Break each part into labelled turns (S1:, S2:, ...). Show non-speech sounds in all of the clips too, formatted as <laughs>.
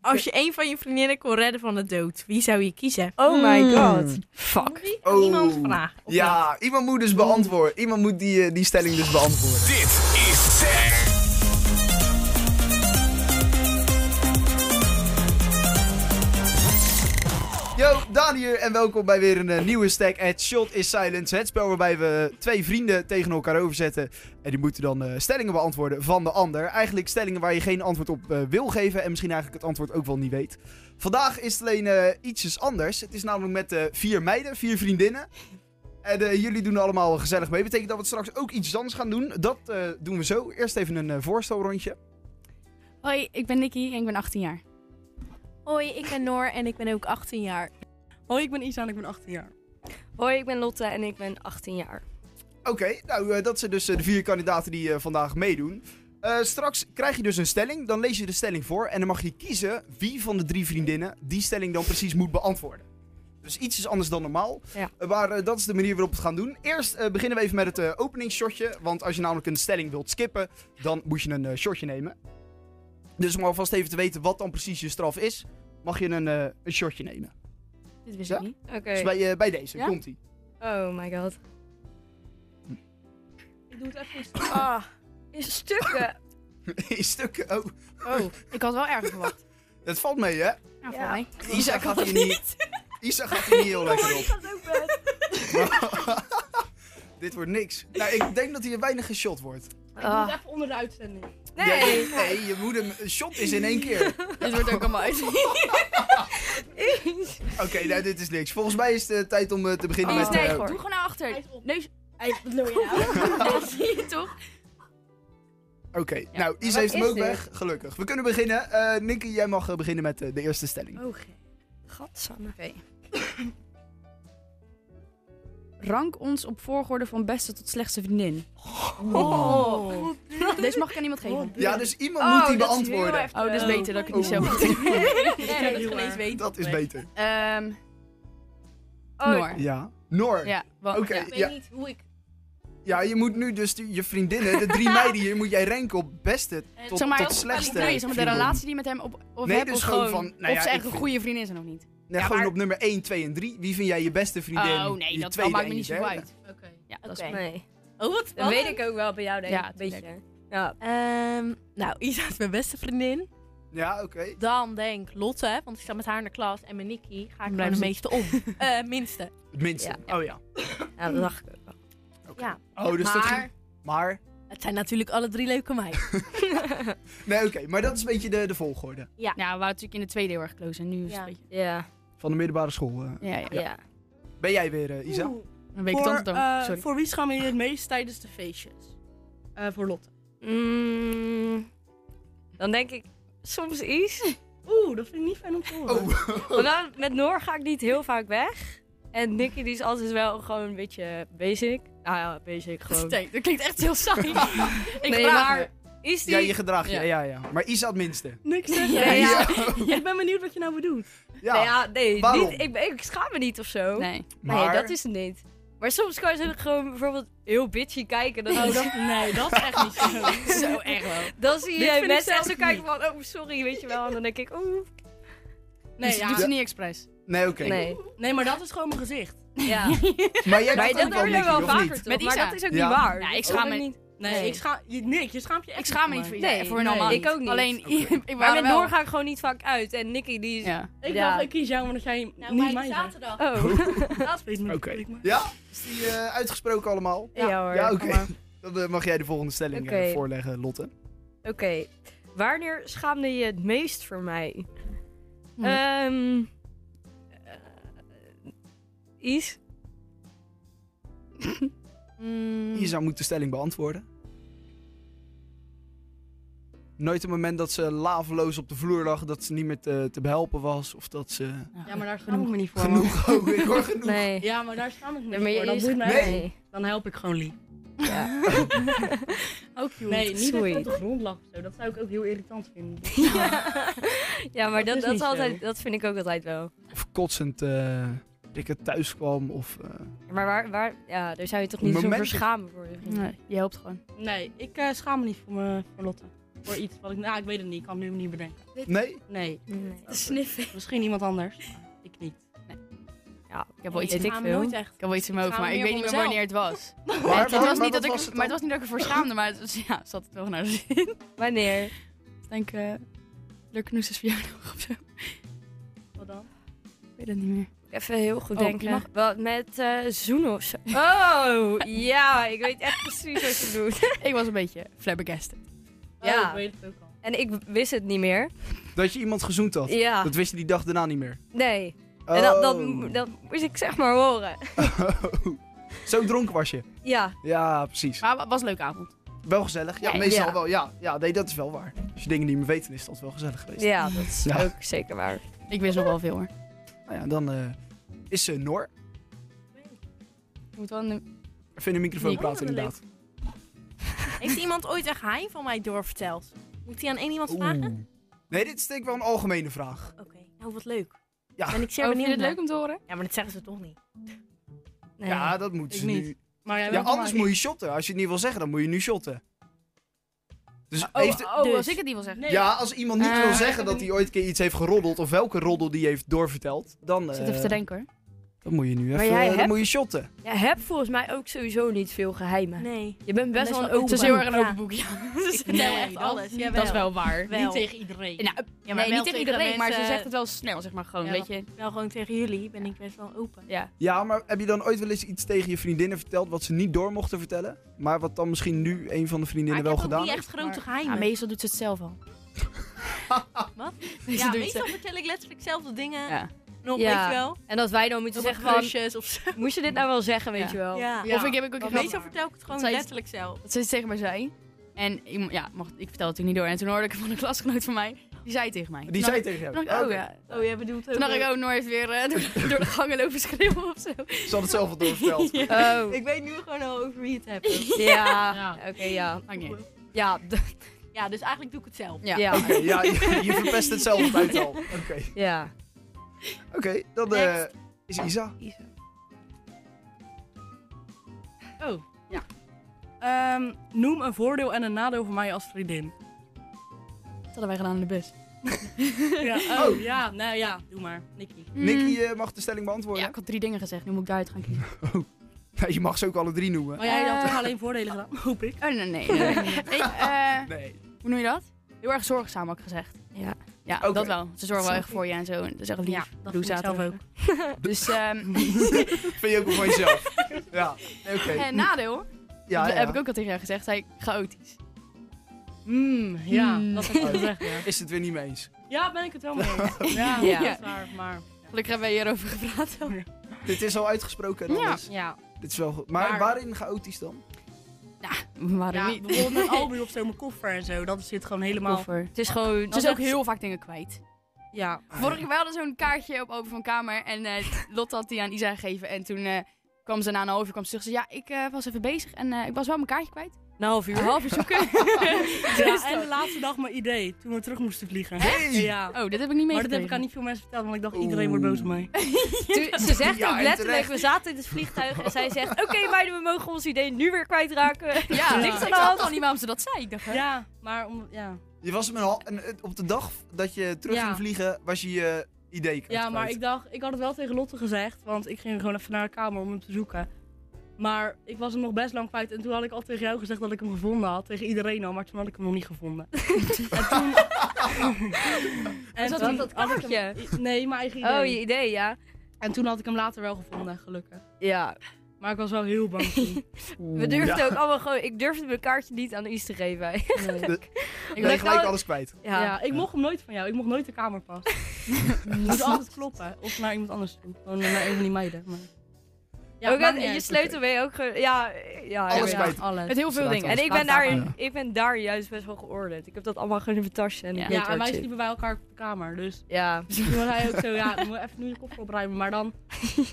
S1: Als je een van je vriendinnen kon redden van de dood, wie zou je kiezen?
S2: Oh
S3: Hmm.
S2: my god.
S4: Fuck.
S1: Moet
S3: Oh.
S1: Iemand vragen. Of
S3: Ja, iemand moet dus beantwoorden. Iemand moet die, eh, die stelling dus beantwoorden.
S5: Dit is Zeg.
S3: Yo, Daan hier en welkom bij weer een eh, nieuwe stack at Shot is Silence. Het spel waarbij we eh, twee vrienden tegen elkaar overzetten. En die moeten dan eh, stellingen beantwoorden van de ander. Eigenlijk stellingen waar je geen antwoord op eh, wil geven en misschien eigenlijk het antwoord ook wel niet weet. Vandaag is het alleen eh, ietsjes anders. Het is namelijk met eh, vier meiden, vier vriendinnen. En eh, jullie doen allemaal gezellig mee. Betekent dat we straks ook iets anders gaan doen. Dat eh, doen we zo. Eerst even een eh, voorstelrondje.
S4: Hoi, ik ben Nikki en ik ben 18 jaar.
S1: Hoi, ik ben Noor en ik ben ook 18 jaar.
S2: Hoi, ik ben Isa en ik ben 18 jaar.
S6: Hoi, ik ben Lotte en ik ben 18 jaar.
S3: Oké, nou eh, dat zijn dus eh, de vier kandidaten die eh, vandaag meedoen. Eh, straks krijg je dus een stelling, dan lees je de stelling voor en dan mag je kiezen wie van de drie vriendinnen die stelling dan precies moet beantwoorden. Dus iets is anders dan normaal,
S6: Ja.
S3: Eh, maar eh, dat is de manier waarop we het gaan doen. Eerst eh, beginnen we even met het eh, openingsshotje, want als je namelijk een stelling wilt skippen, dan moet je een eh, shotje nemen. Dus om alvast even te weten wat dan precies je straf is, mag je een, eh, een shotje nemen.
S4: Dit wist
S3: Ja?
S4: ik niet.
S6: Oké.
S3: Dus bij, eh, bij deze,
S4: Ja?
S3: komt-ie. <laughs>
S6: Oh my god.
S1: Ik doe het even
S6: Ah, in stukken.
S3: In stukken, oh,
S4: Oh, ik had wel erg verwacht.
S3: dat valt mee hè?
S4: Nou,
S6: Ja.
S4: voor mij.
S3: Isa gaat hier niet. <laughs> Isa gaat hier niet heel lekker op. <laughs> Dit wordt niks. Nou, ik denk dat hier weinig geshot wordt.
S6: Ah.
S1: even onder de uitzending.
S6: Nee.
S3: Ja, nee, je moet hem. Een shot is in één keer.
S4: Dit wordt ook allemaal uit.
S3: <laughs> Oké, nou, dit is niks. Volgens mij is het tijd om eh, te beginnen
S1: Oh,
S2: Oh,
S4: Eens,
S3: met.
S4: nee,
S3: eh,
S4: doe gewoon naar achter.
S1: <laughs>
S4: Neus.
S1: Wat looi je nou?
S4: Dat zie je toch?
S3: Oké, nou, Isa
S6: wat
S3: heeft hem
S6: is
S3: ook
S6: dit?
S3: weg. Gelukkig. We kunnen beginnen. Eh Nicky, jij mag eh, beginnen met eh, de eerste stelling.
S6: Gadsamme.
S4: Rank ons op volgorde van beste tot slechtste vriendin.
S1: Oh.
S4: Deze mag ik aan iemand geven.
S3: Ja, dus iemand
S6: Oh,
S3: moet die
S6: dat is heel
S3: beantwoorden.
S6: heftig.
S4: Oh, dat is
S6: Oh.
S4: beter dat ik het niet
S3: Oh.
S4: zelf moet doen.
S1: Nee, dat
S2: heel
S1: gelees
S2: erg.
S1: weten.
S3: <laughs> Dat is beter.
S4: <laughs> Ehm,
S6: Oh,
S4: Noor.
S3: Ja. Noor. Ja.
S4: Ja, wa-
S3: Oké.
S4: ja.
S1: Ik weet
S3: Ja.
S1: niet hoe ik...
S3: je moet nu dus die- je vriendinnen, de drie meiden hier, moet jij ranken op beste tot,
S4: Zeg maar,
S3: tot
S4: als-
S3: slechtste.
S4: Nee, zeg maar de
S3: vriendin.
S4: relatie die je met hem op, of
S3: Nee,
S4: hebt,
S3: dus
S4: of
S3: gewoon
S4: gewoon,
S3: van, nou
S4: of
S3: ja,
S4: ze
S3: ik
S4: echt een
S3: vind-
S4: goede vriendin is of niet.
S3: Nee,
S4: Ja,
S3: gewoon
S4: maar-
S3: op nummer 1, 2 en 3. Wie vind jij je beste vriendin?
S4: Oh nee,
S3: Je
S4: dat, dat
S3: tweede
S4: maakt me
S3: en
S4: niet
S3: je
S4: zo
S3: derde?
S4: uit.
S1: Oké.
S4: Ja, dat is
S2: Oké.
S4: fijn.
S6: Nee.
S1: Oh, wat
S6: Dat weet ik ook wel bij jou, denk ik.
S4: Ja,
S6: een beetje.
S4: tuurlijk.
S6: Ja.
S1: Ehm, nou, <laughs> Isa is mijn beste vriendin.
S3: Ja, oké.
S1: Dan denk Lotte, want ik sta met haar in de klas. En met Nikki ga ik gewoon de
S4: Blijven
S1: meeste om. <laughs> Eh, minste.
S3: Het minste. Oh ja.
S6: ja, dat dacht ik <laughs> ook wel.
S1: Ja.
S3: Oh, dus dat
S1: maar
S3: ging... Maar?
S1: het zijn natuurlijk alle drie leuke meiden.
S3: Nee, oké. Maar dat is een beetje de, de volgorde.
S4: Nou, we waren natuurlijk in de tweede heel erg close en nu is
S1: Ja.
S4: het een beetje...
S6: Ja,
S3: Van de middelbare school. eh.
S4: Ja, ja.
S6: ja.
S3: Ben jij weer, eh, Isa?
S2: Oeh.
S4: Dan weet ik het
S2: voor,
S4: antwoord ook.
S2: eh,
S4: Sorry.
S2: voor wie schaam je je het meest tijdens de feestjes? Eh, voor Lotte.
S6: Mm, dan denk ik soms iets.
S2: <laughs> Oeh, dat vind ik niet fijn om te horen.
S3: Oh,
S6: Want dan, met Noor ga ik niet heel vaak weg. En Nicky die is altijd wel gewoon een beetje basic. Nou ja, basic <laughs> gewoon.
S4: Steek, dat klinkt echt heel
S6: <laughs>
S4: saai. ik
S6: Nee,
S4: vraag
S6: maar
S4: me.
S6: is die...
S3: ja, je gedrag. Ja.
S4: Ja.
S3: ja, ja. Maar Isa het minste.
S2: Niks zeggen.
S6: Nee, ja.
S2: Ik ben benieuwd wat je nou bedoelt.
S3: Ja,
S6: Nee, ja, nee
S3: Waarom?
S6: niet, ik, ben- ik schaam me niet of zo.
S4: Nee.
S3: maar...
S6: Nee, dat is het niet. Maar soms kan je gewoon bijvoorbeeld heel bitchy kijken. Dan,
S2: Oh, dat, nee, dat is echt niet
S1: <laughs>
S2: zo.
S4: Zo echt wel.
S6: dan zie
S2: Dit
S6: je
S2: vind ik
S6: mensen echt zo
S2: zelf
S6: kijken van, oh sorry, weet je wel. En dan denk ik, oeh.
S4: Nee,
S2: Dus-
S4: ja. doet ze niet expres.
S3: Nee, oké.
S6: Nee.
S2: Nee, maar dat is gewoon mijn gezicht.
S6: Ja.
S3: Maar jij
S6: Maar
S3: hebt ook
S6: dat
S3: wel
S6: hoor je
S3: Nicky,
S6: wel
S3: of
S6: vaker
S3: niet?
S6: toch?
S4: Met
S6: maar
S4: Isa.
S6: dat is ook
S3: Ja.
S6: niet waar.
S4: Ja, ik
S6: Dat
S4: schaam
S6: hoor
S4: me-
S6: niet.
S2: Nee,
S6: Nee.
S2: ik schaam je, Nick, je schaamt je echt
S4: Ik schaam me
S2: voor
S4: niet voor
S2: mij.
S4: je.
S6: Nee,
S4: voor hun
S2: nee.
S4: allemaal
S6: Ik ook niet.
S4: Alleen, <laughs> ik
S6: Maar
S4: waren
S6: met
S4: wel...
S6: Noor ga ik gewoon niet vaak uit. En Nicky die is...
S4: Ja.
S2: Ik
S6: Ja.
S2: dacht, ik kies jou omdat jij
S1: Nou,
S2: niet
S1: mijn
S2: mij bent.
S1: zaterdag.
S6: Oh.
S2: Laatst weet ik niet.
S3: Oké.
S2: weet ik maar.
S3: Ja? Is die eh, uitgesproken allemaal?
S6: Ja, hoor.
S3: Ja, oké.
S6: allemaal.
S3: <laughs> Dan eh, mag jij de volgende stelling eh,
S6: Oké.
S3: voorleggen, Lotte.
S6: Oké. Wanneer schaamde je het meest voor mij?
S4: Hm.
S6: Ehm eh, Is?
S3: Isa moet de stelling beantwoorden. Nooit een moment dat ze laveloos op de vloer lag, dat ze niet meer te, te behelpen was of dat ze...
S2: Ja, maar daar schaam ik me niet voor. man.
S3: Genoeg, oh, ik hoor genoeg.
S6: Nee.
S2: Ja, maar daar schaam ik me
S6: Ja,
S2: niet
S6: maar je
S2: voor. Dat
S6: is-
S2: doet mij
S3: Nee.
S2: niet. Dan help ik gewoon Lee. <laughs>
S6: Ja.
S4: Ook cute.
S2: Nee, niet dat
S6: Sorry.
S2: je op de grond lag of zo. Dat zou ik ook heel irritant vinden.
S6: <laughs> ja, maar
S2: Dat
S6: dat,
S2: is
S6: dat, is
S2: niet
S6: altijd,
S2: zo.
S6: dat vind ik ook altijd wel.
S3: Of kotsend eh ik er thuis kwam of... eh,
S6: Maar waar, waar, ja, daar zou je toch niet zo
S3: Momenten.
S6: voor schamen voor je vrienden?
S4: Nee, je helpt gewoon.
S2: Nee, ik eh, schaam me niet voor, me, voor Lotte. Voor iets wat ik... Nou, ik weet het niet. Ik kan het nu niet bedenken.
S3: Nee?
S2: Nee.
S1: Nee.
S7: Te sniffen.
S2: Misschien iemand anders. maar Ik niet.
S6: Ja, ik heb wel iets
S4: Weet ik
S1: ga me
S4: veel.
S1: nooit echt.
S4: Ik had wel iets in mijn
S1: Ik
S4: hoofd,
S1: ga
S4: maar ik
S1: meer
S4: weet niet meer
S1: voor
S4: wanneer het was.
S3: Waar-
S4: het,
S3: waar-
S4: was
S3: waar-
S4: niet dat ik,
S3: was het
S4: maar het
S3: dan?
S4: was niet dat ik ervoor schaamde, maar het was, ja, zat het wel naar de zin.
S6: Wanneer?
S4: <laughs> Ik denk, eh Leuknoes is verjaardag of zo.
S2: Wat dan?
S4: Ik weet het niet meer.
S7: Even heel goed
S4: Oh, je
S7: denken.
S4: mag-
S7: Wat met eh zoenen of zo.
S6: Oh, ja, ik weet echt precies wat je doet.
S4: <laughs> Ik was een beetje flabbergasted.
S2: Ja.
S6: Ja.
S2: Oh, ik weet het ook al.
S6: En ik wist het niet meer.
S3: Dat je iemand gezoend had.
S6: Ja,
S3: Dat wist je die dag daarna niet meer.
S6: nee. En dat, dat,
S3: Oh.
S6: dat moest ik zeg maar horen.
S3: <laughs> Zo dronken was je.
S6: Ja,
S3: Ja, precies.
S4: Maar het was een leuke avond.
S3: Wel gezellig. Ja,
S6: Ja,
S3: meestal
S6: ja.
S3: wel. Ja, ja, nee, dat is wel waar. Als je dingen niet meer weet, dan is dat wel gezellig geweest.
S6: ja dat is
S3: Ja.
S6: ook zeker waar.
S4: Ik wist nog wel veel hoor.
S3: Nou ja, dan eh, is ze Noor.
S4: Ik moet wel een...
S3: Even in de microfoon
S4: Nico.
S3: praten,
S1: Oh, wat een
S3: inderdaad.
S1: Heeft iemand ooit echt geheim van mij doorverteld? Moet die aan één iemand vragen?
S3: Oeh. Nee, dit is denk ik wel een algemene vraag.
S1: Oké, nou wat leuk.
S3: Ja.
S1: Ben ik zeer
S4: Oh, vind
S1: benieuwd.
S4: je het
S1: naar.
S4: leuk om te horen?
S1: Ja, maar dat zeggen ze toch niet.
S7: Nee.
S3: ja, dat moeten
S2: ik
S3: ze
S2: niet.
S3: nu.
S2: Maar jij
S3: Ja,
S2: bent er
S3: anders
S2: maar-
S3: moet je shotten. Als je het niet wil zeggen, dan moet je nu shotten. Dus
S4: Oh,
S3: heeft,
S4: oh,
S1: dus.
S4: als ik het niet wil zeggen.
S2: Nee.
S3: Ja, als iemand niet
S4: Eh,
S3: wil
S4: ik
S3: zeggen dat hij ooit een keer iets heeft geroddeld of welke roddel die heeft doorverteld, dan,
S4: Ik zit
S3: eh,
S4: even te denken hoor.
S3: dan moet je nu
S7: Maar
S3: even
S7: jij
S3: eh, dan
S7: hebt-
S3: moet je shotten.
S7: Je hebt volgens mij ook sowieso niet veel geheimen.
S1: Nee.
S7: Je bent best wel een
S1: open
S7: open
S4: Het is heel
S1: boek.
S4: erg een
S1: Ja. <laughs> Dus
S4: open boek, ja. Dat is-
S1: Ik vertel
S2: Nee,
S1: echt
S2: dat
S1: alles.
S2: niet.
S1: Jawel.
S4: Dat is wel waar.
S1: Wel.
S2: Niet tegen iedereen.
S4: Nou, ja, maar
S1: Nee,
S4: niet
S1: niet
S4: tegen
S1: tegen
S4: iedereen, maar ze
S1: mensen-
S4: zegt het wel snel, zeg maar gewoon,
S2: Ja.
S4: weet je.
S1: Wel gewoon tegen jullie ben ik best wel open.
S4: Ja.
S3: Ja, maar heb je dan ooit wel eens iets tegen je vriendinnen verteld wat ze niet door mochten vertellen? Maar wat dan misschien nu een van de vriendinnen wel
S1: ik heb ook
S3: gedaan
S1: niet
S3: heeft?
S1: echt grote
S2: maar-
S4: ja,
S1: <laughs> geheimen. Dus
S4: meestal doet ze het zelf <laughs> al.
S1: Wat?
S4: Meestal
S1: Ja,
S4: doet
S1: meestal
S4: ze-
S1: vertel ik letterlijk zelf de dingen
S4: Ja.
S1: nog,
S7: Ja.
S1: weet je wel.
S7: En dat wij dan moeten
S1: Nog
S7: zeggen
S1: op
S7: van,
S1: klusjes of zo.
S7: moest je dit nou wel zeggen, weet
S4: Ja.
S7: je wel.
S1: Ja.
S4: Of ik heb ik ook een
S1: Want
S4: grap
S1: meestal vertel ik het gewoon
S4: Zij-
S1: letterlijk zelf.
S4: dat ze het tegen mij zei. En ik, ja, mocht, ik vertelde het natuurlijk niet door. En toen hoorde ik van een klasgenoot van mij, die zei het tegen mij.
S3: Die
S4: Toen
S3: zei
S4: dacht-
S3: tegen
S4: toen
S3: hem.
S4: dacht ik,
S3: Oké.
S4: oh ja.
S1: Oh, jij bedoelt ook...
S4: Toen dacht ik ook nooit weer eh, <laughs> door, door de gangen lopen schreeuwen of zo.
S3: Ze had het zelf al doorverteld.
S2: <laughs>
S7: Oh,
S1: Ik weet nu gewoon al over wie het hebt.
S7: ja.
S2: Ja.
S7: Oké, ja.
S4: Maakt niet uit.
S7: Ja, d-
S1: Ja, dus eigenlijk doe ik het zelf.
S4: Ja.
S7: ja.
S3: Oké, ja, je, je verpest het zelf bij het al. Oké,
S7: ja.
S3: Oké, dan eh, is Isa.
S2: Oh, ja. Ehm, noem een voordeel en een nadeel voor mij als
S1: <laughs>
S2: vriendin.
S4: Dat hadden wij gedaan in de bus.
S2: ja, oh, ja, nou ja, doe maar, Nicky.
S3: Nicky eh, mag de stelling beantwoorden.
S4: Hmm. Ja, ik had drie dingen gezegd. Nu moet ik daaruit gaan kiezen.
S3: Ja, <laughs> je mag ze ook alle drie noemen.
S2: Maar jij had
S4: Eh.
S2: toch alleen voordelen gedaan,
S1: <laughs>
S2: hoop ik.
S4: Oh, nee, nee. nee. <laughs> ik, eh,
S3: Nee.
S4: hoe noem je dat? Heel erg zorgzaam, had ik gezegd.
S7: Ja.
S4: Ja,
S3: Oké.
S4: dat wel. Ze zorgen wel
S7: Snap
S4: echt voor je en zo. En Dat is echt lief.
S2: Ja, dat doe ik
S4: Doe
S2: zelf ook.
S4: zaterdag. Dus, ehm
S3: Vind je ook wel van jezelf. ja, <laughs> oké.
S4: en <laughs> nadeel,
S3: Ja,
S4: dat
S3: ja.
S4: heb ik ook al tegen jou gezegd, zei ik chaotisch.
S2: Mm,
S1: Hmm,
S2: ja,
S4: Mm.
S2: dat heb ik gezegd, ja.
S3: Is het weer niet mee eens.
S2: Ja, ben ik het wel mee
S4: <laughs>
S2: eens. Ja,
S7: Ja.
S2: dat is waar, maar...
S4: Gelukkig hebben wij hierover gepraat. ook.
S3: Dit is al uitgesproken en
S4: Ja.
S3: alles.
S2: Ja,
S3: Dit is wel goed. Maar,
S2: Maar-
S3: waarin chaotisch dan?
S4: Waarom
S2: ja
S4: niet?
S2: bijvoorbeeld
S4: <laughs>
S2: mijn Albu of zo, mijn koffer en zo, dat zit gewoon helemaal...
S4: Koffer.
S7: Het is gewoon...
S4: Ze is ook heel vaak dingen kwijt.
S2: Ah, Ja,
S4: Vorige keer, wij hadden zo'n kaartje op Open van Kamer. En eh Lot had die aan Isa gegeven. En toen eh, kwam ze na een half uur kwam ze terug. Ze zei, ja, ik eh, was even bezig en eh, ik was wel mijn kaartje kwijt.
S7: Een half uur.
S4: Een half uur
S7: <laughs>
S4: zoeken.
S2: ja en de laatste dag mijn idee, toen we terug moesten vliegen.
S3: Hey!
S2: Ja.
S4: Oh, dit heb ik niet
S2: Maar dat heb ik aan
S4: meegekregen.
S2: niet veel mensen verteld, want ik dacht
S3: Oeh.
S2: iedereen wordt boos op mij.
S7: Toen- ze zegt
S3: Ja,
S7: ook
S3: en
S7: letterlijk,
S3: terecht.
S7: we zaten in het vliegtuig en zij zegt... Oké meiden, we mogen ons idee nu weer kwijtraken.
S4: <laughs> Ja,
S2: Ja.
S4: ik snap al niet waarom ze dat zei. Ik dacht, hè?
S2: Ja, maar om, ja.
S3: Je was met een hal- en, eh, op de dag dat je terug
S2: Ja.
S3: ging vliegen, was je je idee kwijt.
S2: Ja,
S3: <laughs>
S2: maar ik dacht, ik had het wel tegen Lotte gezegd, want ik ging gewoon even naar haar kamer om hem te zoeken. Maar ik was hem nog best lang kwijt en toen had ik al tegen jou gezegd dat ik hem gevonden had. Tegen iedereen al, maar toen had ik hem nog niet gevonden.
S4: <laughs>
S2: en toen... en
S7: zat
S2: toen
S7: dat
S2: had ik
S7: kaartje.
S2: hem- Nee, mijn eigen idee.
S7: Oh, je idee, ja.
S2: En toen had ik hem later wel gevonden, gelukkig.
S7: Ja.
S2: Maar ik was wel heel bang toen.
S7: We durfden ook allemaal gewoon... Ik durfde mijn kaartje niet aan Is te geven.
S2: Nee.
S3: Ik ben gelijk
S7: dacht-
S3: alles kwijt.
S2: Ja.
S7: Ja.
S2: ik mocht hem nooit van jou. Ik mocht nooit de kamer passen. Ik moest altijd kloppen. Of naar iemand anders toe. Gewoon naar een van die meiden. Maar...
S7: Ook
S6: Oh,
S2: maakt
S7: dat-
S2: niet
S7: en je
S2: uit. Oh,
S7: sleutel ben je ook gewoon... Ja, ja.
S3: Alles
S7: ja.
S3: kwijt.
S2: Alles.
S4: Met heel veel
S3: Ze
S4: dingen.
S3: laat
S6: dus
S7: En ik
S4: Laat
S7: ben,
S4: daar-
S7: daar, ik ben daar juist best wel geordend. Ik heb dat allemaal gewoon in mijn tasje. En ik
S4: Ja.
S7: weet
S2: Ja,
S7: waar
S2: en
S7: het
S2: wij
S7: zit.
S2: sliepen bij elkaar op de kamer. Dus
S7: Ja.
S2: toen was hij ook zo, ja, dan moet ik even nu de koffer opruimen. Maar dan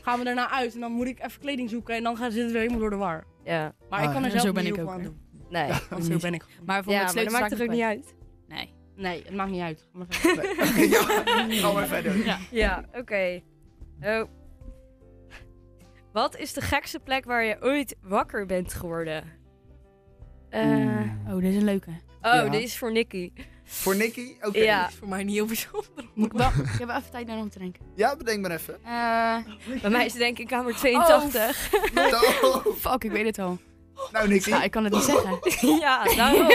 S2: gaan we daarna uit en dan moet ik even kleding zoeken. En dan gaan ze het weer helemaal door de war.
S7: Ja.
S2: Maar
S3: Ah,
S2: ik kan
S4: ja.
S2: er zelf
S4: Zo
S2: niet
S4: ben ik
S2: heel
S4: ook,
S2: veel aan
S4: hoor.
S2: doen.
S7: Nee. Ja,
S2: Want zo ben ik gewoon.
S4: Maar voor
S7: maar dat maakt
S4: het
S7: toch ook niet uit?
S4: Nee.
S2: Nee, het maakt niet uit. Ga maar verder.
S3: Nee. <laughs> ja, gaan we verder.
S7: Ja, oké. Oh. Wat is de gekste plek waar je ooit wakker bent geworden? Eh,
S6: Mm.
S4: Oh, dit is een leuke.
S6: Oh,
S3: Ja.
S6: dit is voor Nicky.
S3: Voor Nicky? Oké.
S6: Ja.
S1: Voor mij niet heel bijzonder.
S4: Moet ik, wel, ik heb wel even tijd nodig om te denken.
S3: Ja, bedenk maar even.
S4: Eh,
S6: Bij mij is het denk ik kamer 82. <laughs>
S3: Nou,
S4: fuck, ik weet het al.
S3: nou Nicky.
S4: Ja, ik kan het niet zeggen.
S6: ja, daarom.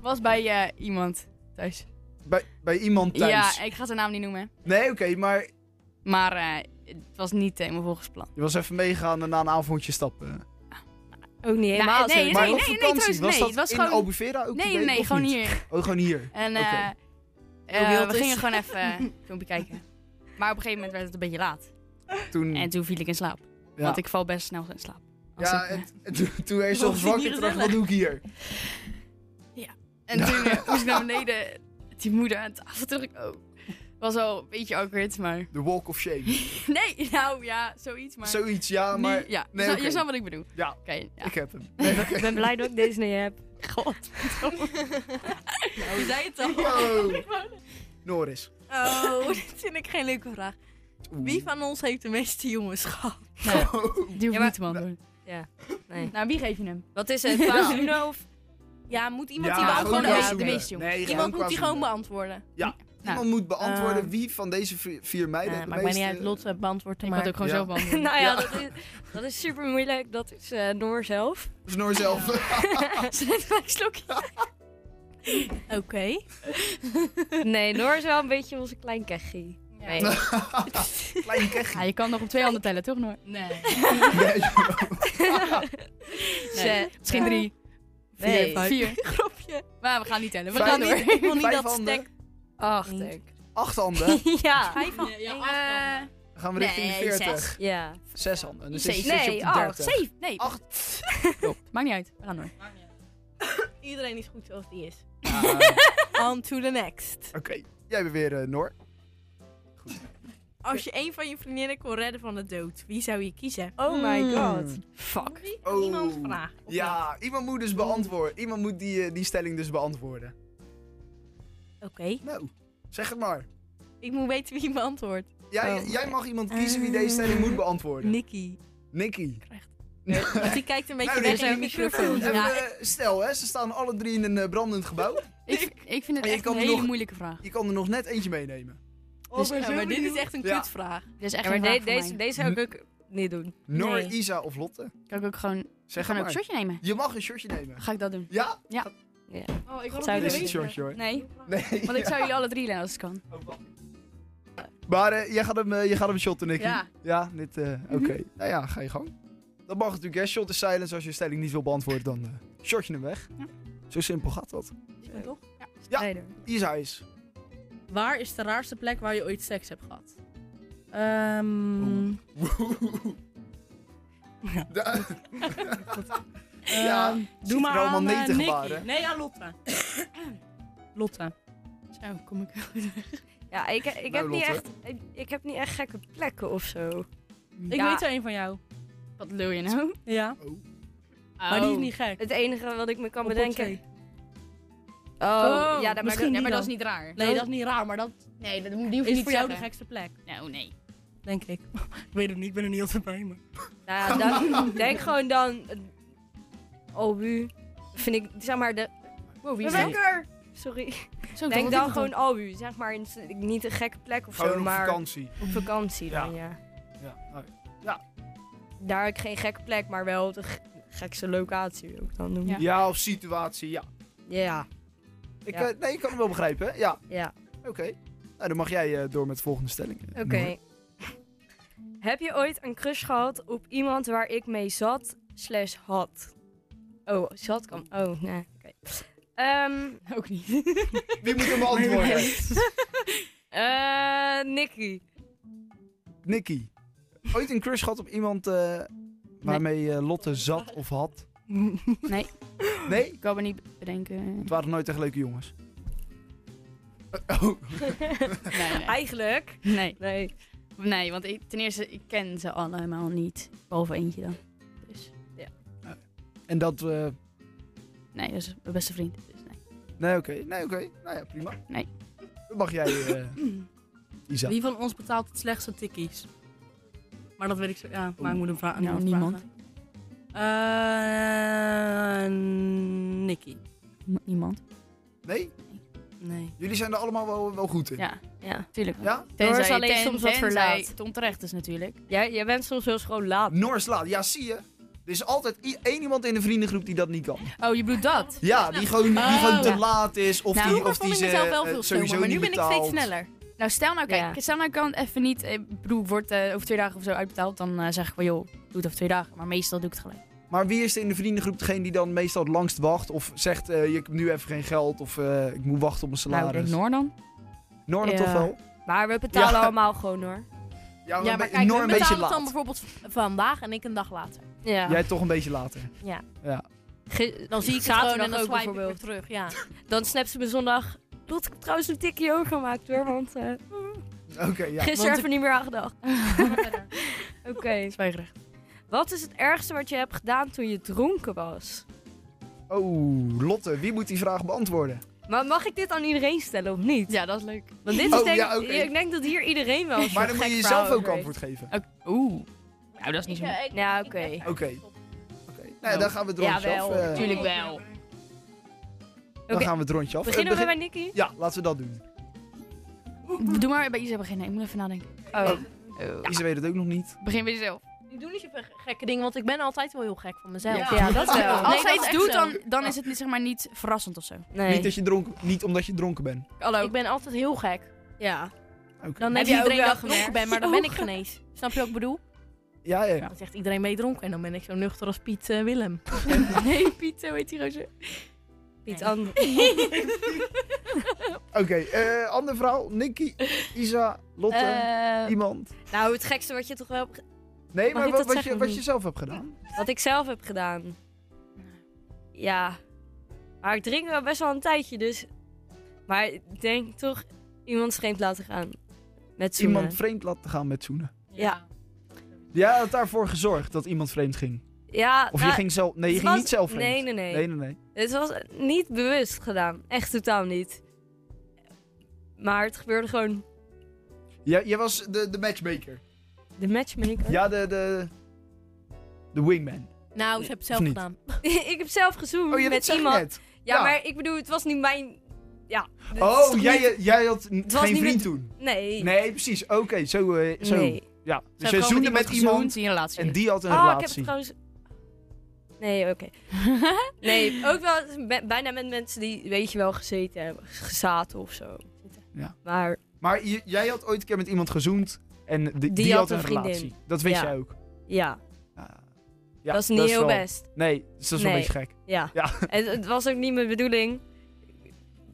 S4: Was bij eh, iemand thuis.
S3: Bij, bij iemand thuis.
S4: Ja, ik ga zijn naam niet noemen.
S3: Nee, oké, maar
S4: Maar eh, het was niet helemaal volgens plan.
S3: je was even meegegaan en na een avondje stappen.
S6: Ook niet helemaal
S4: Nou, nee,
S6: zo.
S4: nee,
S3: maar
S4: nee,
S3: op
S4: nee,
S3: vakantie,
S4: thuis,
S3: was
S4: nee,
S3: dat
S4: het was
S3: in
S4: gewoon-
S3: Albufeira ook?
S4: Nee,
S3: Ik weet
S4: nee,
S3: het
S4: gewoon
S3: niet.
S4: hier.
S3: Oh, gewoon hier.
S4: En eh,
S3: Oké.
S4: eh,
S1: Heel wild
S4: we
S1: is.
S4: gingen <laughs> gewoon even eh, een filmpje kijken. Maar op een gegeven moment werd het een beetje laat.
S3: Toen,
S4: En toen viel ik in slaap.
S3: Ja.
S4: Want ik val best snel in slaap. Als
S3: ja,
S4: ik, eh,
S3: en, <laughs> en toen, toen hij zo
S1: Waarom zit
S3: wakker
S1: hier
S3: dacht, wat doe ik hier?
S4: En toen <laughs> eh, moest ik naar beneden. Die moeder aan tafel terug. Oh. Was wel een beetje awkward, maar...
S3: De walk of shame.
S4: <laughs> Nee, nou ja, zoiets, maar...
S3: Zoiets, ja,
S4: Nu-
S3: maar
S4: ja,
S3: nee,
S4: je,
S3: oké.
S4: je snapt wat ik bedoel.
S3: Ja.
S4: Oké, ja.
S3: ik heb hem. <laughs>
S6: Ik <laughs> ben blij dat ik deze niet heb.
S7: Wie zei het dan?
S3: Wow. Noris.
S1: Oh, <laughs> dit vind ik geen leuke vraag.
S3: Oeh.
S1: Wie van ons heeft de meeste jongens gehad?
S4: Die hoeft
S6: maar-
S4: niet, man. hoor.
S6: Ja, nee.
S4: Nou, wie geef je hem?
S6: Wat
S7: <laughs>
S6: is het? Qua Uno of...
S1: Ja, moet iemand
S3: Ja,
S1: die
S4: gewoon
S1: beantwoorden?
S4: de
S1: Ja,
S4: meeste- de meeste jongens.
S3: Nee, gewoon
S1: iemand
S3: qua
S1: moet die gewoon
S3: zoenen.
S1: beantwoorden.
S4: Nou.
S3: Iemand moet beantwoorden
S1: Eh.
S3: wie van deze vi- vier meiden
S1: Eh,
S3: de
S1: maakt mij niet
S3: meeste-
S1: uit, Lotte beantwoordt te
S4: Ik had
S1: maken.
S4: ook
S3: Ja.
S4: gewoon zelf beantwoorden.
S6: <laughs> nou ja, Dat, is, dat is super moeilijk. Dat is eh Noor zelf.
S3: Snor zelf. <laughs>
S1: Oké.
S6: Nee, Noor is wel een beetje onze klein kechie. Nee.
S3: Klein kechje.
S4: Ja, je kan nog op twee handen tellen, toch? Noor? <laughs> Nee.
S3: Nee,
S6: Ze-
S4: Misschien drie.
S6: Nee.
S4: Vier. <laughs> Vier. Maar we gaan niet tellen. We
S3: Vijf.
S4: gaan door.
S1: Ik wil niet
S3: Vijf
S1: dat
S3: handen.
S1: stek.
S6: Acht, denk ik.
S3: Acht handen.
S6: <laughs> Ja.
S1: Vijf van.
S4: Ja,
S3: Dan gaan we richting
S4: Nee,
S3: de 40.
S4: zes.
S6: Ja.
S3: Zes handen. Dus
S4: Zeven.
S3: is- zit je op
S6: Nee,
S3: de
S6: acht.
S3: 30.
S6: Zeven.
S4: nee. <laughs>
S3: Acht.
S4: Klopt. Maakt niet uit. We gaan door.
S1: Iedereen is goed zoals die is.
S3: Ah,
S1: On to the next.
S3: Oké, jij bent weer eh, Noor.
S1: Als je een van je vriendinnen kon redden van de dood, wie zou je kiezen?
S6: Oh my
S4: Hmm.
S6: god.
S4: Fuck.
S1: Wie?
S3: Hmm. Oh.
S1: Iemand vraagt. of niet?
S3: Ja, iemand moet dus beantwoorden. Iemand moet die, eh, die stelling dus beantwoorden.
S1: Oké.
S3: Nou, zeg het maar.
S1: Ik moet weten wie beantwoordt.
S3: Jij,
S1: Oh.
S3: jij mag iemand kiezen wie deze stelling moet beantwoorden.
S1: Nikki.
S3: Nicky.
S1: Want die kijkt een beetje
S3: Nou,
S1: weg
S3: Nicky,
S1: in de microfoon.
S3: <laughs> Even, <laughs>
S1: Ja,
S3: eh, stel, hè, ze staan alle drie in een eh, brandend gebouw.
S4: Ik, ik vind het
S3: Je
S4: echt
S3: kan er
S4: een hele
S3: nog- Oh,
S4: moeilijke vraag.
S3: Je kan er nog net eentje meenemen.
S1: dus, ja, maar dit is echt een
S3: Ja.
S1: kutvraag.
S4: Dit is echt
S6: Ja, maar
S4: geen
S6: de-
S4: vraag voor
S6: deze,
S4: mij.
S6: deze zou ik ook niet doen.
S3: Noor,
S1: Nee.
S3: Isa of Lotte?
S4: Kan ik ook gewoon...
S3: Zeg
S4: Gaan
S3: het
S4: ook een
S3: maar.
S4: shotje nemen?
S3: Je mag een shortje nemen.
S4: Ga ik dat doen?
S3: Ja?
S4: Oh, ik
S3: Dit
S6: Zou
S1: dus-
S6: ik
S3: is een
S6: niet.
S3: shortje hoor.
S4: Nee.
S3: Nee.
S4: Want ik zou jullie alle drie lenen als het kan.
S3: Maar eh, jij gaat hem, eh, jij gaat hem shotten, Nicky.
S4: Ja.
S3: Ja, dit, eh, oké. Nou ja, ga je gang. Dat mag natuurlijk, hè. Shot is silence. Als je je stelling niet wil beantwoorden, dan eh short je hem weg.
S4: Ja.
S3: Zo simpel gaat dat.
S1: toch?
S3: Ja.
S6: Strijder.
S3: Isa is.
S2: Waar is de raarste plek waar je ooit seks hebt gehad? Ehm,
S3: Oeh. Da- Ja,
S2: ehm,
S3: zit
S2: doe maar
S3: er allemaal
S2: aan,
S3: nee
S2: eh,
S3: te
S2: Nicky.
S3: gebaren.
S2: Nee, aan Lotte. Lotte.
S4: Zo, kom ik <laughs>
S6: Ja, ik, ik, heb niet
S3: Lotte.
S6: echt, ik, ik heb niet echt gekke plekken of zo.
S2: Ik weet er een van jou.
S4: Wat lul je nou?
S2: Ja.
S3: Oh,
S2: Maar die is niet gek.
S6: Het enige wat ik me kan
S2: Op
S6: bedenken.
S2: opzij.
S6: Oh,
S2: Oh,
S6: ja, dat, maar
S2: misschien niet
S6: dat-
S4: maar
S2: dan.
S4: dat is niet raar. Oh.
S2: Nee, dat is niet raar, maar dat
S4: Nee, dat hoef- die hoef je
S2: is
S4: niet
S2: voor
S4: te
S2: jou de
S4: zeggen.
S2: gekste plek,
S4: Nou, nee.
S2: denk ik. ik weet het niet, ik ben er niet altijd bij me.
S6: Nou ja, dan, denk gewoon dan. eh, Albu. Vind ik, zeg maar, de.
S4: Wow, wie is dat?
S6: Lekker! Sorry.
S4: Zo,
S6: Denk
S4: Oh, dat
S6: dan
S4: was
S6: gewoon Albu. Zeg maar, het is niet een gekke plek of
S3: Gewoon
S6: zo,
S3: op
S6: maar
S3: vakantie.
S6: op vakantie dan, ja.
S3: Ja.
S6: Daar heb ik geen gekke plek, maar wel de g- gekste locatie ook dan noemen.
S4: Ja.
S6: Ja.
S3: ja, of situatie, ja.
S6: ja,
S3: Ik,
S6: Ja.
S3: eh, nee, ik kan hem wel begrijpen, hè? Ja, oké. Nou, dan mag jij eh, door met de volgende stelling. eh,
S6: Oké.
S3: Noor.
S6: <laughs> Heb je ooit een crush gehad op iemand waar ik mee zat slash had? Oh, zat kan. Oh, nee. Oké. Ehm,
S4: het. Ook niet.
S3: Wie moet hem
S6: <laughs>
S3: beantwoorden?
S6: eh, Nicky.
S3: Nicky. Ooit een crush gehad op iemand eh, waarmee eh, Lotte zat of had?
S4: <laughs> Nee.
S3: Nee?
S4: <laughs> Ik kan me niet bedenken.
S3: Het waren nooit echt leuke jongens. Eh, oh.
S4: Nee, nee.
S6: <laughs> Eigenlijk.
S4: Nee,
S6: Nee.
S4: nee want ik, ten eerste, ik ken ze allemaal niet. Behalve eentje dan.
S6: Dus,
S3: En dat... eh,
S4: Nee, dat is mijn beste vriend. Dus nee.
S3: nee, oké. Nee, oké. Nou ja, prima.
S4: Nee.
S3: Dan mag jij, eh, Isa.
S2: Wie van ons betaalt het slechtste tikkies? Maar dat weet ik zo. Ja, maar ik moet hem vragen. aan
S4: Nou,
S2: iemand vragen. Eh, Nicky.
S4: M- Niemand.
S3: Nee?
S4: Nee.
S3: Jullie zijn er allemaal wel, wel goed in.
S4: Ja,
S6: Ja.
S4: tuurlijk.
S3: Ja?
S6: Doris
S4: Tenzij-
S6: alleen
S4: ten-
S6: soms wat
S4: tenzij
S6: verlaat.
S4: het onterecht is natuurlijk.
S6: Jij, jij bent soms wel eens gewoon laat.
S3: Noorslaan. Ja, zie je? Er is altijd i- één iemand in de vriendengroep die dat niet kan.
S4: Oh, je bedoelt dat?
S3: Ja, die gewoon, die
S4: Oh.
S3: gewoon te
S4: Ja.
S3: laat is. Of
S4: Nou,
S3: die,
S1: Vroeger
S3: of
S1: vond
S3: die
S1: ik
S3: ze
S1: mezelf wel
S3: eh,
S1: veel
S3: sowieso
S1: sneller, maar nu
S3: niet
S1: ben ik steeds
S3: betaalt.
S1: sneller.
S4: Nou, stel nou, kijk,
S6: Ja.
S4: stel nou ik kan het even niet, ik bedoel, wordt eh, over twee dagen of zo uitbetaald, dan eh, zeg ik wel, joh, doe het over twee dagen. Maar meestal doe ik het gelijk.
S3: Maar wie is er in de vriendengroep degene die dan meestal het langst wacht? Of zegt, eh, ik heb nu even geen geld. Of eh, ik moet wachten op mijn
S4: Nou, ik denk
S3: salaris.
S4: Noor dan.
S3: Noorda
S4: Ja.
S3: toch wel?
S6: Maar we betalen
S3: Ja.
S6: allemaal gewoon hoor.
S3: Ja,
S1: Ja, maar kijk,
S3: Noor
S1: we
S3: een beetje
S1: betalen het dan
S3: laat.
S1: bijvoorbeeld v- vandaag en ik een dag later.
S6: Ja.
S3: Jij toch een beetje later. <laughs>
S6: Ge-
S1: Dan zie ik het
S6: Zaterdag
S1: gewoon en dan
S6: ook
S1: swipe ik weer
S6: bijvoorbeeld.
S1: terug.
S2: <laughs>
S1: Ja.
S6: Dan snapt ze me zondag. Lot, ik heb trouwens een tikje hoger gemaakt hoor, want eh
S3: Oké, ja.
S6: gisteren
S4: want
S6: even niet meer aan
S1: <laughs>
S6: gedacht. Oké.
S4: Zwijgerecht.
S6: Wat is het ergste wat je hebt gedaan toen je dronken was?
S3: Oh, Lotte, wie moet die vraag beantwoorden?
S6: Maar mag ik dit aan iedereen stellen of niet?
S4: Ja, dat is leuk.
S6: Want dit is
S3: Oh,
S6: denk
S3: ja,
S6: ik-
S3: oké.
S6: ik denk dat hier iedereen wel.
S3: Maar dan moet je jezelf ook antwoord geven.
S4: Oeh. Nou, dat is niet zo.
S1: Ik, eh, ik-
S6: Ja,
S1: ik-
S6: oké.
S1: ik-
S3: Oké. Oké. Nou ja, dan gaan we het rondje
S6: Jawel.
S3: af. eh,
S4: Tuurlijk wel.
S3: dan
S6: Oké.
S3: gaan we het rondje af.
S6: Beginnen
S3: Eh,
S6: we bij
S3: begin-
S6: Nicky?
S3: Ja, laten we dat doen.
S4: Doe maar bij Isa beginnen, ik moet even nadenken.
S6: Oh.
S3: Ja. weet het ook nog niet.
S4: Begin bij jezelf.
S1: Ik doe niet zoveel gekke dingen, want ik ben altijd wel heel gek van mezelf.
S6: Ja, dat wel.
S1: Ja.
S4: Als
S1: Nee,
S4: zij
S1: dat
S4: iets
S1: is
S4: doet,
S1: echt zo.
S4: dan, dan is het niet, zeg maar, niet verrassend of zo.
S6: Nee.
S3: Niet, dat je dronken, niet omdat je dronken bent.
S4: Hallo.
S1: Ik ben altijd heel gek.
S2: Ja.
S3: Oké.
S1: Dan
S4: Heb
S1: denkt
S4: jij ook
S1: iedereen
S4: wel
S1: dat ik dronken
S4: gemerkt?
S1: ben, maar dan ben ik geen eens. Snap je wat ik bedoel?
S3: Ja, ja, ja.
S1: Dan zegt iedereen mee dronken en dan ben ik zo nuchter als Piet eh, Willem.
S4: <laughs> Nee, Piet, zo heet die roze.
S6: Niet anders.
S3: Oké, eh, ander verhaal. Nicky, Isa, Lotte,
S4: Eh,
S3: iemand.
S6: nou, het gekste wat je toch wel. hebt ge-
S3: Nee, maar
S6: ik
S3: wat,
S6: dat
S3: wat,
S6: zeggen
S3: je,
S6: of
S3: wat
S6: niet?
S3: je zelf hebt gedaan.
S6: Wat ik zelf heb gedaan. Ja. Maar ik drink wel best wel een tijdje, dus. Maar ik denk toch iemand vreemd laten gaan. Met zoenen.
S3: Iemand vreemd laten gaan met zoenen.
S6: Ja.
S3: Dus Jij had daarvoor gezorgd dat iemand vreemd ging.
S6: Ja,
S3: Of
S6: nou,
S3: je ging zelf... Nee,
S6: het
S3: je ging
S6: was-
S3: niet zelf vreemd.
S6: Nee, nee, nee.
S3: Nee, nee, nee.
S6: Het was niet bewust gedaan. Echt totaal niet. Maar het gebeurde gewoon.
S3: Jij, jij was de, de matchmaker.
S6: De matchmaker.
S3: Ja, de... De, de wingman.
S1: Nou, ze hebben het zelf
S3: Of niet?
S1: gedaan.
S6: <laughs> ik heb zelf gezoend
S3: Oh, je
S6: met
S3: bent
S6: iemand.
S3: net.
S6: Ja,
S3: Ja.
S6: maar ik bedoel, het was niet mijn. Ja. het is
S3: Oh,
S6: toch
S3: jij,
S6: niet-
S3: jij had n-
S6: was
S3: geen
S6: niet
S3: vriend
S6: met-
S3: toen.
S6: Nee.
S3: Nee, precies. Oké, zo, eh, zo.
S6: Nee.
S3: Ja.
S4: Zij
S3: Dus jij
S4: heeft gewoon
S3: zoende met iemand
S4: gezoend in je relatie.
S3: en die had een
S6: Oh, ik heb het
S3: relatie.
S6: trouwens. Nee, oké.
S3: <laughs>
S6: Nee, ook wel be- bijna met mensen die, weet je wel, gezeten hebben. Gezaten of zo.
S3: Ja.
S6: Maar
S3: Maar j- jij had ooit een keer met iemand gezoend en de- die,
S6: had
S3: had,
S6: een
S3: een,
S6: vriendin.
S3: relatie. Dat wist
S6: Ja.
S3: jij ook.
S6: ja,
S3: Ja. Ja,
S6: dat is niet heel
S3: wel-
S6: best.
S3: Nee, dus dat is wel
S6: Nee.
S3: een beetje gek.
S6: Ja.
S3: Ja.
S6: En <laughs> het was ook niet mijn bedoeling.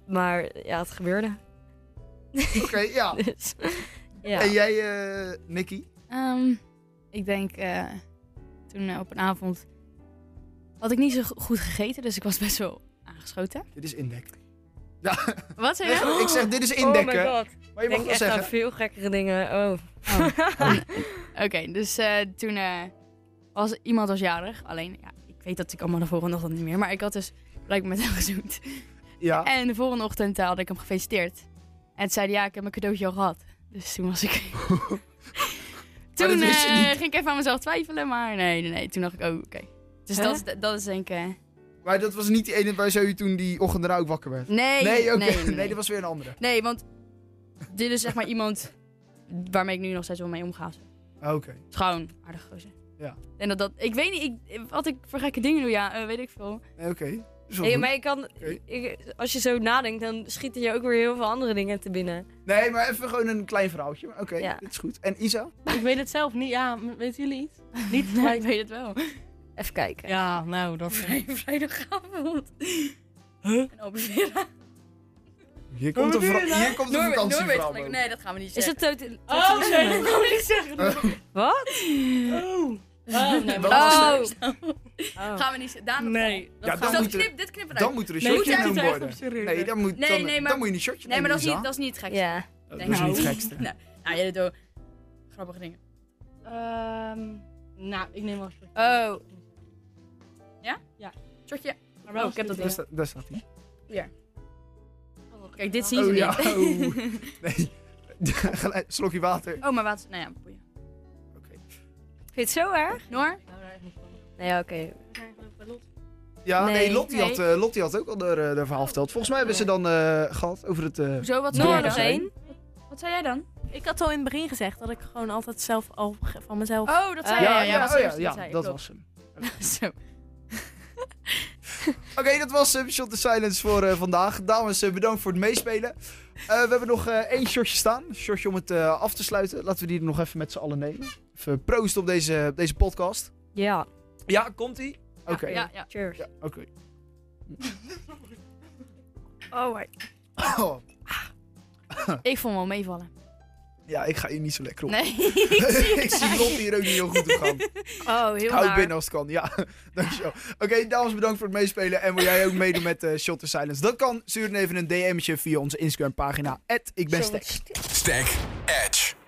S6: Maar ja, het
S3: <laughs>
S6: gebeurde.
S3: Oké, ja.
S6: Dus, ja.
S3: En jij, eh, Nicky?
S4: Ehm, ik denk, eh, toen eh, op een avond had ik niet zo go- goed gegeten, dus ik was best wel aangeschoten.
S3: Dit is indekken.
S4: Wat zei
S3: Nee,
S4: je?
S3: ik zeg, dit is
S6: oh my
S3: indekken.
S6: god.
S3: maar je
S6: Ik
S3: mag
S6: denk
S3: wel
S6: echt aan
S3: zeggen.
S6: veel gekkere dingen. Oh. <laughs>
S4: Oké, dus eh, toen eh, was iemand was jarig. Alleen, ja, ik weet dat ik allemaal de volgende ochtend niet meer. Maar ik had dus blijkbaar met hem gezoend.
S3: Ja.
S4: En de volgende ochtend eh, had ik hem gefeliciteerd. En toen zei hij, ja, ik heb mijn cadeautje al gehad. Dus toen was ik...
S3: <laughs> Oh, dat
S4: toen
S3: wist je
S4: eh,
S3: niet.
S4: ging ik even aan mezelf twijfelen, maar nee, nee, nee. Toen dacht ik, oh, oké. Dus
S6: Hè?
S4: dat, is- dat is denk ik... eh,
S3: Maar dat was niet die ene waar zo je toen die ochtend daarna ook wakker werd.
S4: nee,
S3: Nee, oké. <laughs>
S4: nee, nee,
S3: nee, dat was weer een andere.
S4: Nee, want dit is zeg maar iemand waarmee ik nu nog steeds wel mee omga. Het
S3: Oké.
S4: is gewoon een aardige gozer.
S3: Ja.
S4: En dat, dat, ik weet niet, ik, wat ik voor gekke dingen doe, ja, eh, weet ik <laughs> veel.
S3: Nee, Oké. Is wel
S6: Nee,
S3: goed.
S6: maar je kan, ik- als je zo nadenkt, dan schieten je ook weer heel veel andere dingen te binnen.
S3: Nee, maar even gewoon een klein verhaaltje. Maar Oké,
S6: Ja.
S3: dit is goed. En Isa?
S2: Ik weet het zelf niet. Ja, m- weten jullie iets? Niet
S4: Ja,
S2: maar
S4: ik weet het <laughs> wel.
S6: Even kijken.
S2: Ja, nou, dat...
S4: Vrijdagavond. En observeren.
S3: Hier komt een, vra- hier komt een vakantieverhaal.
S4: gelijk.
S3: boven.
S4: Nee, dat gaan we niet
S6: Is
S4: zeggen.
S6: het tot...
S2: Oh, nee, dat kan
S6: <laughs>
S2: ik niet zeggen.
S6: Wat?
S2: Oh. Oh, nee, <laughs>
S3: Dat
S2: maar-
S3: was-
S4: Oh,
S6: Oh.
S4: gaan we niet zeggen. Daan,
S2: Nee.
S3: Ja,
S4: dat
S3: dan
S4: dat
S3: moet er,
S4: knip, dit knippen we
S3: dan
S4: uit.
S3: moet er een
S2: Nee,
S3: shotje
S2: ik moet
S3: in
S2: het
S3: doen
S2: echt
S3: worden.
S2: observeren.
S3: Nee, dan moet,
S4: Nee,
S3: dan,
S4: nee, maar-
S3: dan moet je een shotje
S4: Nee, maar dat is
S3: nemen,
S4: niet, dat is niet gek.
S6: Ja.
S3: Isa. Dat is
S4: Nou.
S3: niet het gekste.
S4: Nee. Nou, jullie doen grappige dingen.
S2: Ehm, nou, ik neem wel een slokje.
S4: Oh. Ja?
S2: Ja.
S4: Shotje.
S2: Maar wel,
S4: Oh, ik heb dat
S3: Daar sta- Daar staat hij. <laughs>
S4: Kijk, dit zien ze
S3: Oh ja.
S4: niet.
S3: Oh. Nee. Gelijk, Slokje water.
S4: <laughs> Oh, maar wat? Nou ja, boeien.
S6: Vind je het zo erg?
S4: Noor?
S2: Oh,
S6: Nee, oké.
S3: Ja, nee,
S6: Nee.
S3: Lottie, Had, eh, Lottie had ook al haar, eh, haar verhaal verteld. Volgens mij hebben ze dan eh, gehad over het... eh,
S4: Zo,
S6: Noah
S4: wat zei
S3: Noah
S4: jij
S6: nog
S4: dan?
S3: zei-
S6: één.
S4: Wat zei jij dan?
S1: Ik had al in het begin gezegd dat ik gewoon altijd zelf al ge- van mezelf...
S4: Oh, dat zei
S6: Eh,
S4: jij.
S3: ja,
S4: ja.
S3: oh ja, ja,
S6: zei ik,
S3: dat
S6: klopt.
S3: was hem.
S4: Zo.
S3: Oké, dat was eh, Shot the Silence voor eh, vandaag. Dames, eh, bedankt voor het meespelen. Eh, we hebben nog eh, één shotje staan. Een shotje om het eh, af te sluiten. Laten we die er nog even met z'n allen nemen. Even proosten op deze, op deze podcast.
S6: Ja.
S3: Ja, komt-ie? Oké.
S4: Ja, ja.
S6: Cheers.
S3: Ja, oké.
S1: Oh, my
S4: <laughs>
S3: Oh,
S4: Ik vond hem wel meevallen.
S3: Ja, ik ga hier niet zo lekker op.
S4: Nee.
S3: <laughs> ik
S4: <laughs>
S3: zie Lotte hier ook niet heel goed op gaan.
S4: Oh, heel
S3: Hou het binnen als het kan, ja. <laughs> Dankjewel. Oké, dames, bedankt voor het meespelen. En wil jij ook meedoen met eh Shot the Silence? Dat kan. Stuur dan even een DM'tje via onze Instagram pagina. Ik ben
S6: Zo,
S3: Stek.
S5: Stack Edge.